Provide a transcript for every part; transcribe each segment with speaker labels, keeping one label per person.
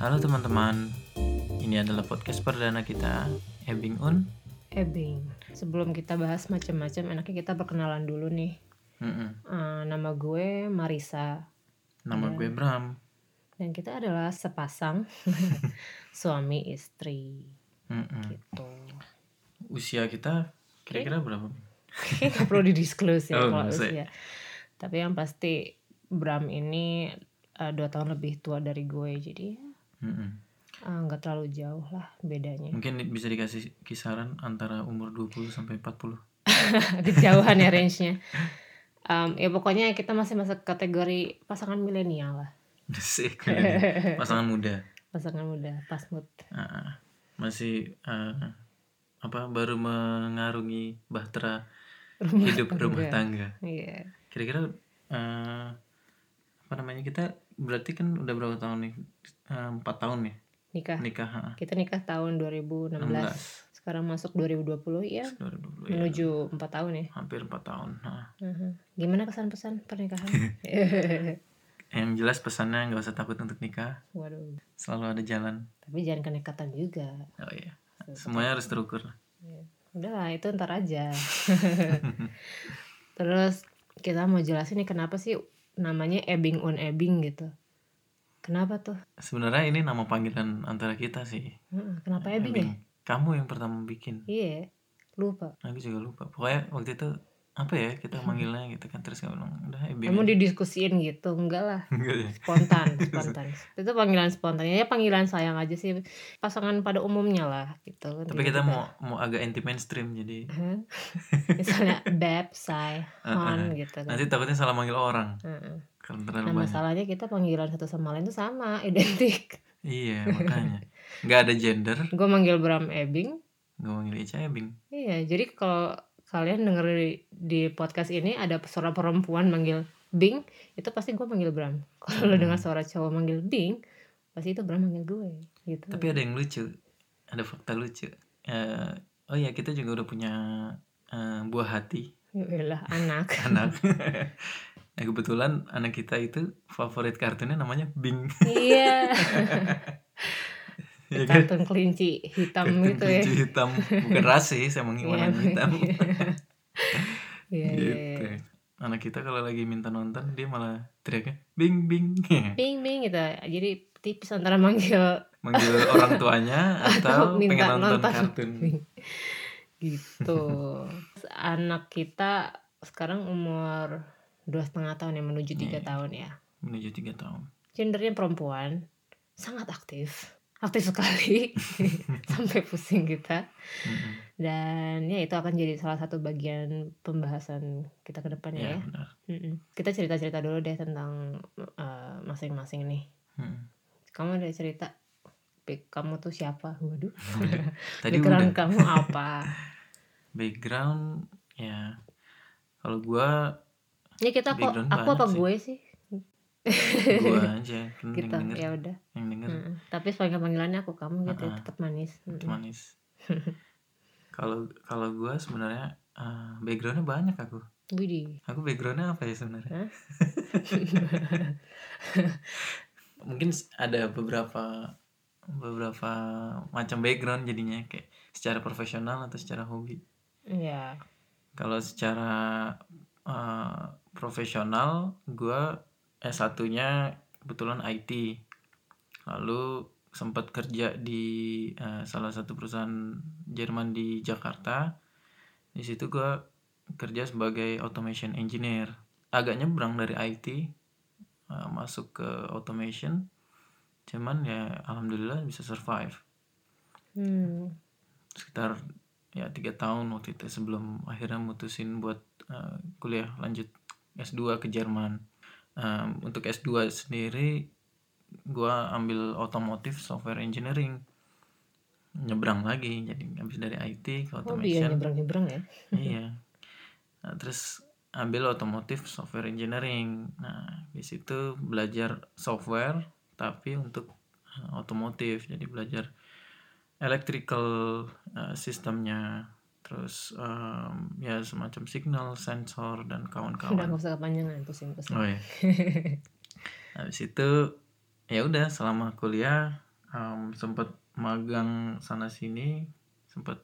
Speaker 1: Halo teman-teman, ini adalah podcast perdana kita, Ebing Un.
Speaker 2: Ebing. Sebelum kita bahas macam-macam, enaknya kita perkenalan dulu nih.
Speaker 1: Mm-mm.
Speaker 2: Eh, nama gue Marisa
Speaker 1: Nama
Speaker 2: Ada.
Speaker 1: gue Bram.
Speaker 2: dan kita adalah sepasang suami istri
Speaker 1: Mm-mm.
Speaker 2: gitu.
Speaker 1: Usia kita kira-kira berapa?
Speaker 2: Kayaknya nggak perlu didisclose ya
Speaker 1: Oh,
Speaker 2: kalau
Speaker 1: nggak usah
Speaker 2: usia. Tapi yang pasti Bram ini eh, dua tahun lebih tua dari gue, jadi ya,
Speaker 1: Mm-mm.
Speaker 2: eh, nggak terlalu jauh lah bedanya.
Speaker 1: Mungkin di- bisa dikasih kisaran antara umur 20 sampai 40.
Speaker 2: Kejauhan ya range-nya. Em, ya pokoknya kita masih masuk kategori pasangan milenial lah.
Speaker 1: Sih, keren. Pasangan muda.
Speaker 2: Pasangan muda, pas mood.
Speaker 1: Ah, ah. masih ah, apa baru mengarungi bahtera
Speaker 2: Rumah
Speaker 1: hidup rumah
Speaker 2: tangga.
Speaker 1: tangga.
Speaker 2: Iya.
Speaker 1: Kira-kira eh, apa namanya kita berarti kan udah berapa tahun nih? Eh, Empat tahun ya
Speaker 2: Nikah.
Speaker 1: nikah. ah, ah.
Speaker 2: Kita nikah tahun 2016.
Speaker 1: 16.
Speaker 2: Sekarang masuk 2020 ya.
Speaker 1: 2020 ya.
Speaker 2: Menuju 4 tahun ya.
Speaker 1: hampir 4 tahun. Nah,
Speaker 2: Mhm. Gimana kesan pesan pernikahan?
Speaker 1: yang jelas pesannya nggak usah takut untuk nikah,
Speaker 2: Waduh.
Speaker 1: selalu ada jalan.
Speaker 2: Tapi jangan kenekatan juga.
Speaker 1: Oh iya, semuanya harus terukur.
Speaker 2: Udah lah, itu ntar aja. Terus kita mau jelasin nih kenapa sih namanya ebbing on ebbing gitu. Kenapa tuh?
Speaker 1: Sebenarnya ini nama panggilan antara kita sih.
Speaker 2: Heeh, Kenapa ebbing ya?
Speaker 1: Ebing. Kamu yang pertama bikin.
Speaker 2: Iya. Lupa.
Speaker 1: Aku juga lupa. Pokoknya waktu itu apa ya kita manggilnya gitu kan terus kamu bilang udah Ebing.
Speaker 2: Kamu
Speaker 1: aja."
Speaker 2: didiskusiin gitu, enggak lah.
Speaker 1: Enggak ya?
Speaker 2: spontan spontan itu panggilan spontan ya panggilan sayang aja sih pasangan pada umumnya lah gitu
Speaker 1: Tapi kita mau mau agak anti mainstream jadi eh,
Speaker 2: Hah? misalnya beb say hon gitu kan
Speaker 1: nanti takutnya salah manggil orang
Speaker 2: Heeh.
Speaker 1: kalau
Speaker 2: nah
Speaker 1: terlalu banyak.
Speaker 2: masalahnya kita panggilan satu sama lain itu sama identik
Speaker 1: Iya makanya nggak ada gender
Speaker 2: gue manggil Bram Ebing
Speaker 1: nggak manggil Ica ya, Ebing.
Speaker 2: iya jadi kalau kalian denger di, di podcast ini ada suara perempuan manggil Bing itu pasti gue manggil Bram kalau lo
Speaker 1: Hmm.
Speaker 2: dengar suara cowok manggil Bing pasti itu Bram manggil gue gitu
Speaker 1: Tapi ada yang lucu, ada fakta lucu. Eh, oh iya kita juga udah punya eh, buah hati
Speaker 2: Yaelah, anak
Speaker 1: anak. nah kebetulan anak kita itu favorit kartunnya namanya Bing.
Speaker 2: Iya,
Speaker 1: ya kan?
Speaker 2: kartun kelinci hitam
Speaker 1: Kartun
Speaker 2: gitu ya.
Speaker 1: kelinci hitam bukan ras sih, saya emang warna
Speaker 2: Iya.
Speaker 1: hitam.
Speaker 2: Iya, iya,
Speaker 1: gitu.
Speaker 2: iya.
Speaker 1: Anak kita kalau lagi minta nonton dia malah teriaknya Bing Bing.
Speaker 2: Bing bing gitu. Jadi tipis antara manggil
Speaker 1: Manggil orang tuanya atau
Speaker 2: Atau minta
Speaker 1: pengen nonton,
Speaker 2: nonton.
Speaker 1: kartun.
Speaker 2: Bing. gitu. Terus Anak kita sekarang umur dua setengah tahun ya menuju tiga
Speaker 1: Iya.
Speaker 2: tahun ya.
Speaker 1: Menuju tiga tahun.
Speaker 2: Gendernya perempuan, sangat aktif, aktif sekali sampai pusing kita.
Speaker 1: Mm-mm.
Speaker 2: Dan ya itu akan jadi salah satu bagian pembahasan kita ke depannya
Speaker 1: Ya,
Speaker 2: ya.
Speaker 1: benar.
Speaker 2: Mm-mm. Kita cerita-cerita dulu deh tentang uh, masing-masing nih.
Speaker 1: Mm.
Speaker 2: Kamu ada cerita Pik, kamu tuh siapa? Waduh.
Speaker 1: Tadi udah
Speaker 2: Background kamu apa?
Speaker 1: background ya kalau gua
Speaker 2: Ini Ya, kita kok
Speaker 1: Background
Speaker 2: aku apa
Speaker 1: banyak sih.
Speaker 2: gue sih?
Speaker 1: gua aja kan yang
Speaker 2: Kita
Speaker 1: denger
Speaker 2: ya udah.
Speaker 1: yang denger
Speaker 2: Mm-mm. Tapi sebagai panggilannya aku kamu gitu ya,
Speaker 1: Mm-mm.
Speaker 2: tetap manis. Mm-mm.
Speaker 1: manis kalau kalau gua sebenarnya eh, backgroundnya banyak aku
Speaker 2: Widih.
Speaker 1: aku backgroundnya apa ya sebenarnya
Speaker 2: Hah?
Speaker 1: mungkin s- ada beberapa beberapa macam background jadinya kayak secara profesional atau secara hobi
Speaker 2: Iya.
Speaker 1: kalau secara eh, profesional gua S 1 nya kebetulan IT lalu sempat kerja di eh, salah satu perusahaan Jerman di Jakarta di situ gua kerja sebagai automation engineer agak nyebrang dari IT eh, masuk ke automation cuman ya alhamdulillah bisa survive
Speaker 2: Hmm.
Speaker 1: sekitar ya tiga tahun waktu itu sebelum akhirnya mutusin buat eh, kuliah lanjut S2 ke Jerman. Em, untuk S2 sendiri gua ambil otomotif software engineering. Nyebrang lagi jadi habis dari IT ke
Speaker 2: Oh, dia
Speaker 1: automation.
Speaker 2: nyebrang-nyebrang ya.
Speaker 1: iya. Nah, terus ambil otomotif software engineering. Nah, di situ belajar software tapi untuk eh, otomotif. Jadi belajar electrical eh, sistemnya, terus em, ya semacam signal, sensor dan
Speaker 2: Udah
Speaker 1: kawan-kawan.
Speaker 2: nggak usah kepanjangan pusing-pusing.
Speaker 1: Oh iya. Habis itu ya udah selama kuliah em, sempet magang sana sini, sempet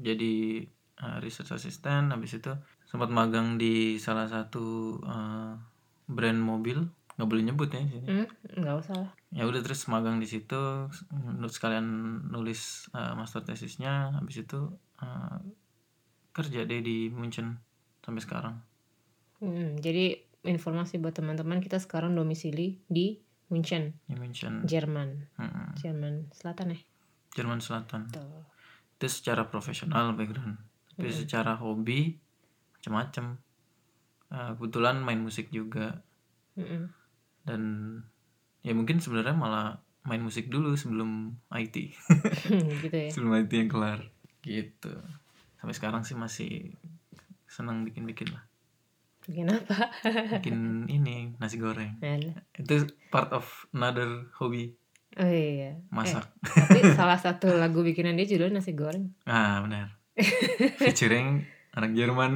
Speaker 1: jadi eh, research assistant, habis itu sempat magang di salah satu eh, brand mobil, nggak boleh nyebut ya di sini.
Speaker 2: Hmm, nggak usah lah.
Speaker 1: Ya udah terus magang di situ, nut sekalian nulis eh, master tesisnya, habis itu eh, kerja deh di München sampai sekarang.
Speaker 2: Hmm, jadi informasi buat teman-teman kita sekarang domisili di München,
Speaker 1: Di München,
Speaker 2: Jerman,
Speaker 1: Mm-mm.
Speaker 2: Jerman Selatan ya.
Speaker 1: Jerman Selatan.
Speaker 2: Tuh.
Speaker 1: itu secara profesional background tapi
Speaker 2: Mm-mm.
Speaker 1: secara hobi macam-macam Eh, kebetulan main musik juga
Speaker 2: Mm-mm.
Speaker 1: dan ya mungkin sebenarnya malah main musik dulu sebelum IT
Speaker 2: gitu ya.
Speaker 1: sebelum IT yang kelar gitu sampai sekarang sih masih senang bikin-bikin lah
Speaker 2: Kenapa?
Speaker 1: bikin ini nasi goreng
Speaker 2: Alah.
Speaker 1: itu part of another hobby
Speaker 2: Nah, Oh iya. Eh,
Speaker 1: masak
Speaker 2: tapi salah satu lagu bikinan dia judulnya nasi goreng.
Speaker 1: ah benar featuring orang Jerman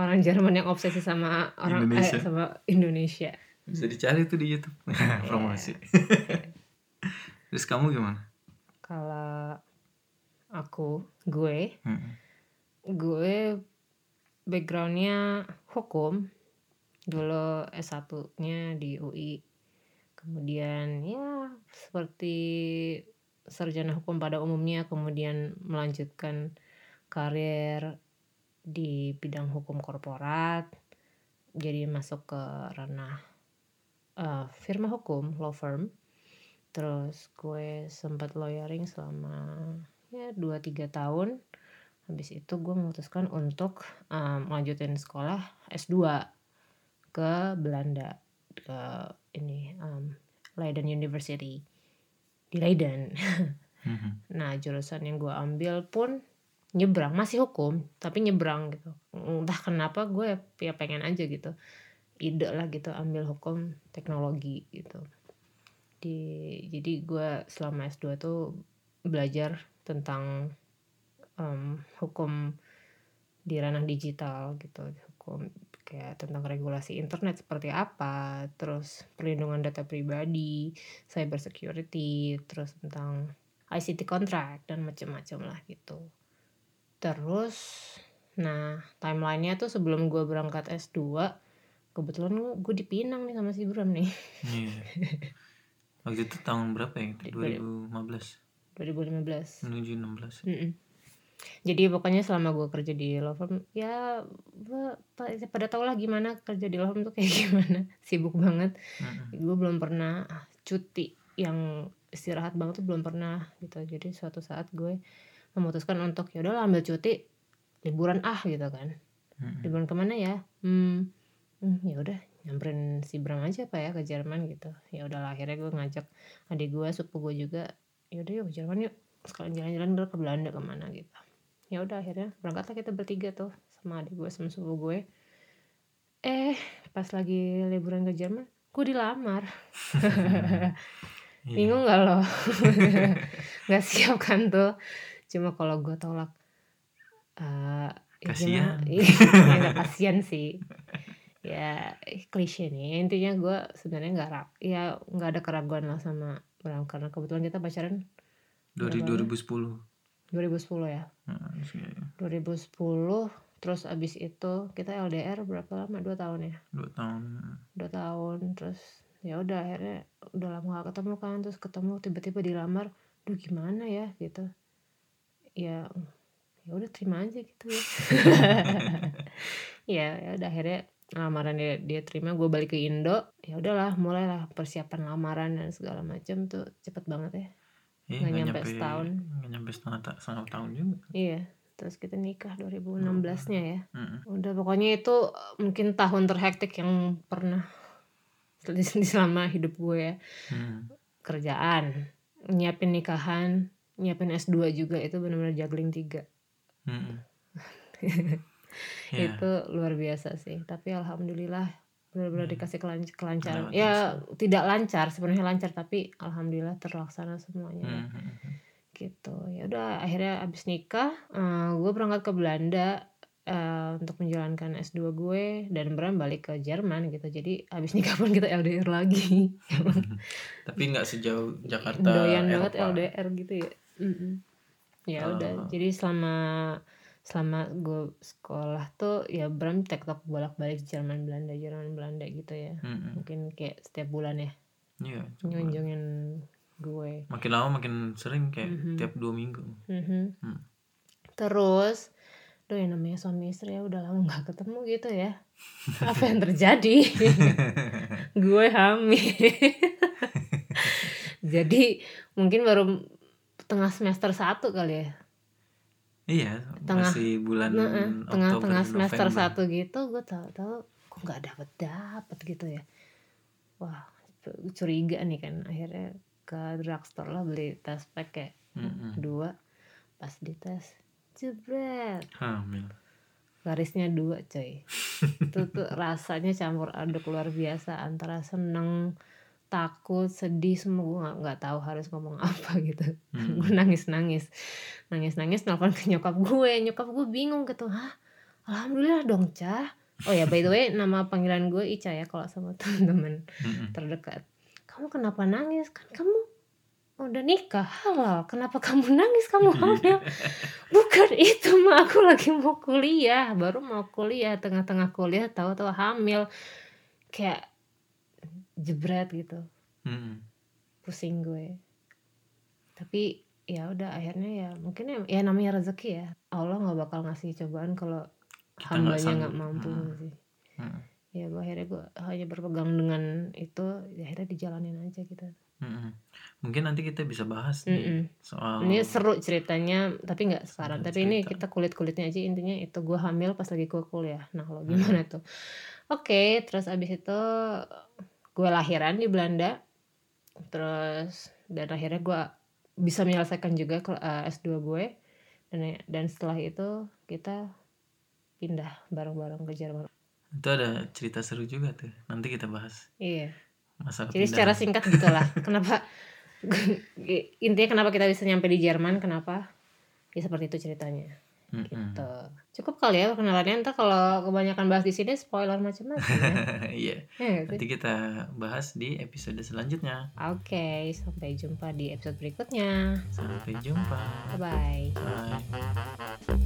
Speaker 2: Orang Jerman yang obsesi sama orang eh,
Speaker 1: Indonesia.
Speaker 2: sama Indonesia.
Speaker 1: bisa dicari tuh di YouTube promosi terus kamu gimana
Speaker 2: Kalau aku, gue,
Speaker 1: Mm-mm.
Speaker 2: gue backgroundnya hukum dulu S1-nya di UI kemudian ya seperti sarjana hukum pada umumnya kemudian melanjutkan karir di bidang hukum korporat jadi masuk ke ranah eh, firma hukum law firm terus gue sempat lawyering selama ya 2-3 tahun Habis itu gue memutuskan untuk um, melanjutin sekolah S2 ke Belanda ke ini um, Leiden University di Leiden.
Speaker 1: Mhm.
Speaker 2: Nah jurusan yang gue ambil pun nyebrang masih hukum tapi nyebrang gitu. Entah kenapa gue ya pengen aja gitu ide lah gitu ambil hukum teknologi gitu. Di, jadi gue selama S2 tuh belajar tentang em, hukum di ranah digital gitu hukum kayak tentang regulasi internet seperti apa terus perlindungan data pribadi cyber security terus tentang ICT contract dan macam-macam lah gitu terus nah timelinenya tuh sebelum gue berangkat S2 kebetulan gue dipinang nih sama si Bram nih
Speaker 1: Iya. waktu itu tahun berapa ya 2015
Speaker 2: 2015
Speaker 1: menuju 16
Speaker 2: Mm-mm. Jadi pokoknya selama gue kerja di law firm ya gua pa- pada tau lah gimana kerja di law firm tuh kayak gimana sibuk banget.
Speaker 1: Mm-mm.
Speaker 2: Gue belum pernah ah, cuti yang istirahat banget tuh belum pernah gitu. Jadi suatu saat gue memutuskan untuk ya udahlah ambil cuti liburan ah gitu kan.
Speaker 1: Mm-mm.
Speaker 2: Liburan kemana ya? Hmm, hmm ya udah nyamperin si Bram aja apa ya ke Jerman gitu. Ya udahlah akhirnya gue ngajak adik gue, sepupu gue juga. Ya udah yuk ke Jerman yuk. Sekalian jalan-jalan dulu ke Belanda kemana gitu. Ya udah akhirnya berangkatlah kita bertiga tuh sama adik gue sama sepupu gue. Eh, pas lagi liburan ke Jerman, gue dilamar.
Speaker 1: Iya.
Speaker 2: Bingung gak lo? gak siap kan tuh. Cuma kalau gue tolak. eh, ya
Speaker 1: Kasian.
Speaker 2: gimana? Iya, gak kasian sih. Ya eh, klise nih. Intinya gue sebenarnya gak rap. Ya gak ada keraguan lah sama Bram. Karena kebetulan kita pacaran
Speaker 1: dari 2010
Speaker 2: 2010 ya.
Speaker 1: Nah, iya, iya.
Speaker 2: 2010. Terus abis itu kita LDR berapa lama? Dua tahun ya.
Speaker 1: dua tahun
Speaker 2: dua tahun terus ya udah akhirnya udah lama gak ketemu kan terus ketemu tiba-tiba dilamar duh gimana ya gitu ya ya udah terima aja gitu ya ya ya udah akhirnya lamaran dia, dia terima gue balik ke Indo ya udahlah mulailah persiapan lamaran dan segala macam tuh cepet banget ya
Speaker 1: Iya,
Speaker 2: Nggak nyampe setahun.
Speaker 1: nggak nyampe setengah, ta- setengah tahun juga
Speaker 2: iya terus kita nikah 2016 nya ya
Speaker 1: Mm-mm.
Speaker 2: udah pokoknya itu eh, mungkin tahun terhektik yang pernah di di selama hidup gue ya
Speaker 1: Mm.
Speaker 2: kerjaan, nyiapin nikahan, nyiapin S2 juga itu benar-benar juggling tiga.
Speaker 1: Mm-mm. Iya.
Speaker 2: itu luar biasa sih tapi alhamdulillah benar-benar
Speaker 1: Hmm.
Speaker 2: dikasih kelan-
Speaker 1: Lewat
Speaker 2: kelancaran ya tidak lancar sebenarnya lancar tapi alhamdulillah terlaksana semuanya
Speaker 1: Hmm, hmm, hmm.
Speaker 2: gitu ya udah akhirnya abis nikah gue berangkat ke Belanda eh, untuk menjalankan S2 gue dan beran balik ke Jerman gitu jadi abis nikah pun kita LDR lagi
Speaker 1: Tapi nggak sejauh Jakarta
Speaker 2: doyan banget
Speaker 1: Eropa.
Speaker 2: LDR gitu ya Mm-mm. ya
Speaker 1: Ah.
Speaker 2: udah jadi selama selama gue sekolah tuh ya Bram tektok bolak-balik Jerman Belanda Jerman Belanda gitu ya
Speaker 1: Hmm, hmm.
Speaker 2: mungkin kayak setiap bulan ya
Speaker 1: Iya. cuma
Speaker 2: nyunjungin gue
Speaker 1: Makin lama makin sering kayak
Speaker 2: Mhm.
Speaker 1: tiap dua minggu.
Speaker 2: Mhm.
Speaker 1: Hmm.
Speaker 2: terus Duh yang namanya suami istri ya udah lama gak ketemu gitu ya Apa yang terjadi? gue hamil Jadi mungkin baru tengah semester satu kali ya
Speaker 1: Iya,
Speaker 2: Tengah-
Speaker 1: masih bulan
Speaker 2: Heeh,
Speaker 1: Oktober
Speaker 2: tengah-tengah
Speaker 1: November.
Speaker 2: semester satu gitu gue tahu-tahu kok nggak dapet dapet gitu ya wah curiga nih kan akhirnya ke drugstore lah beli tes pakai
Speaker 1: Hmm, hmm.
Speaker 2: dua pas dites jebret
Speaker 1: Hamil.
Speaker 2: garisnya dua coy itu tuh rasanya campur aduk luar biasa antara seneng takut sedih semua gue nggak nggak tahu harus ngomong apa gitu
Speaker 1: Hmm.
Speaker 2: gue nangis nangis nangis nangis nelfon ke nyokap gue nyokap gue bingung gitu hah alhamdulillah dong cah oh ya by the way nama panggilan gue Ica ya kalau sama temen-temen
Speaker 1: Hmm, hmm.
Speaker 2: terdekat kamu kenapa nangis kan kamu udah nikah halal kenapa kamu nangis kamu hamil bukan itu mah aku lagi mau kuliah baru mau kuliah tengah-tengah kuliah tahu-tahu hamil kayak jebret gitu
Speaker 1: Hmm, hmm.
Speaker 2: pusing gue tapi ya udah akhirnya ya mungkin ya, ya namanya rezeki ya Allah nggak bakal ngasih cobaan kalau
Speaker 1: Kita nggak
Speaker 2: hambanya
Speaker 1: sanggup.
Speaker 2: nggak mampu
Speaker 1: Hmm.
Speaker 2: sih
Speaker 1: Hmm,
Speaker 2: ya gue akhirnya gue hanya berpegang dengan itu ya akhirnya dijalanin aja gitu
Speaker 1: hmm, hmm. Mungkin nanti kita bisa bahas nih
Speaker 2: Mm-mm.
Speaker 1: soal
Speaker 2: ini seru ceritanya tapi Hmm. nggak sekarang
Speaker 1: Seru
Speaker 2: tapi ini
Speaker 1: cerita.
Speaker 2: kita kulit kulitnya aja intinya itu gue hamil pas lagi gue kuliah nah lo gimana tuh oke terus abis itu gue lahiran di Belanda terus dan akhirnya gue bisa menyelesaikan juga ke- eh, S2 gue dan dan setelah itu kita pindah bareng-bareng ke Jerman
Speaker 1: itu ada cerita seru juga tuh. Nanti kita bahas
Speaker 2: iya
Speaker 1: masalah
Speaker 2: Jadi secara
Speaker 1: pindahan.
Speaker 2: singkat gitulah. kenapa intinya kenapa kita bisa nyampe di Jerman? Kenapa? Ya seperti itu ceritanya.
Speaker 1: Hmm, hmm.
Speaker 2: Gitu. Cukup kali ya perkenalannya. Ntar kalau kebanyakan bahas di sini spoiler macam-macam. ya.
Speaker 1: Iya.
Speaker 2: Ya nggak sih?
Speaker 1: Nanti kita bahas di episode selanjutnya.
Speaker 2: Oke, sampai jumpa di episode berikutnya.
Speaker 1: Sampai jumpa.
Speaker 2: Bye bye.
Speaker 1: Bye.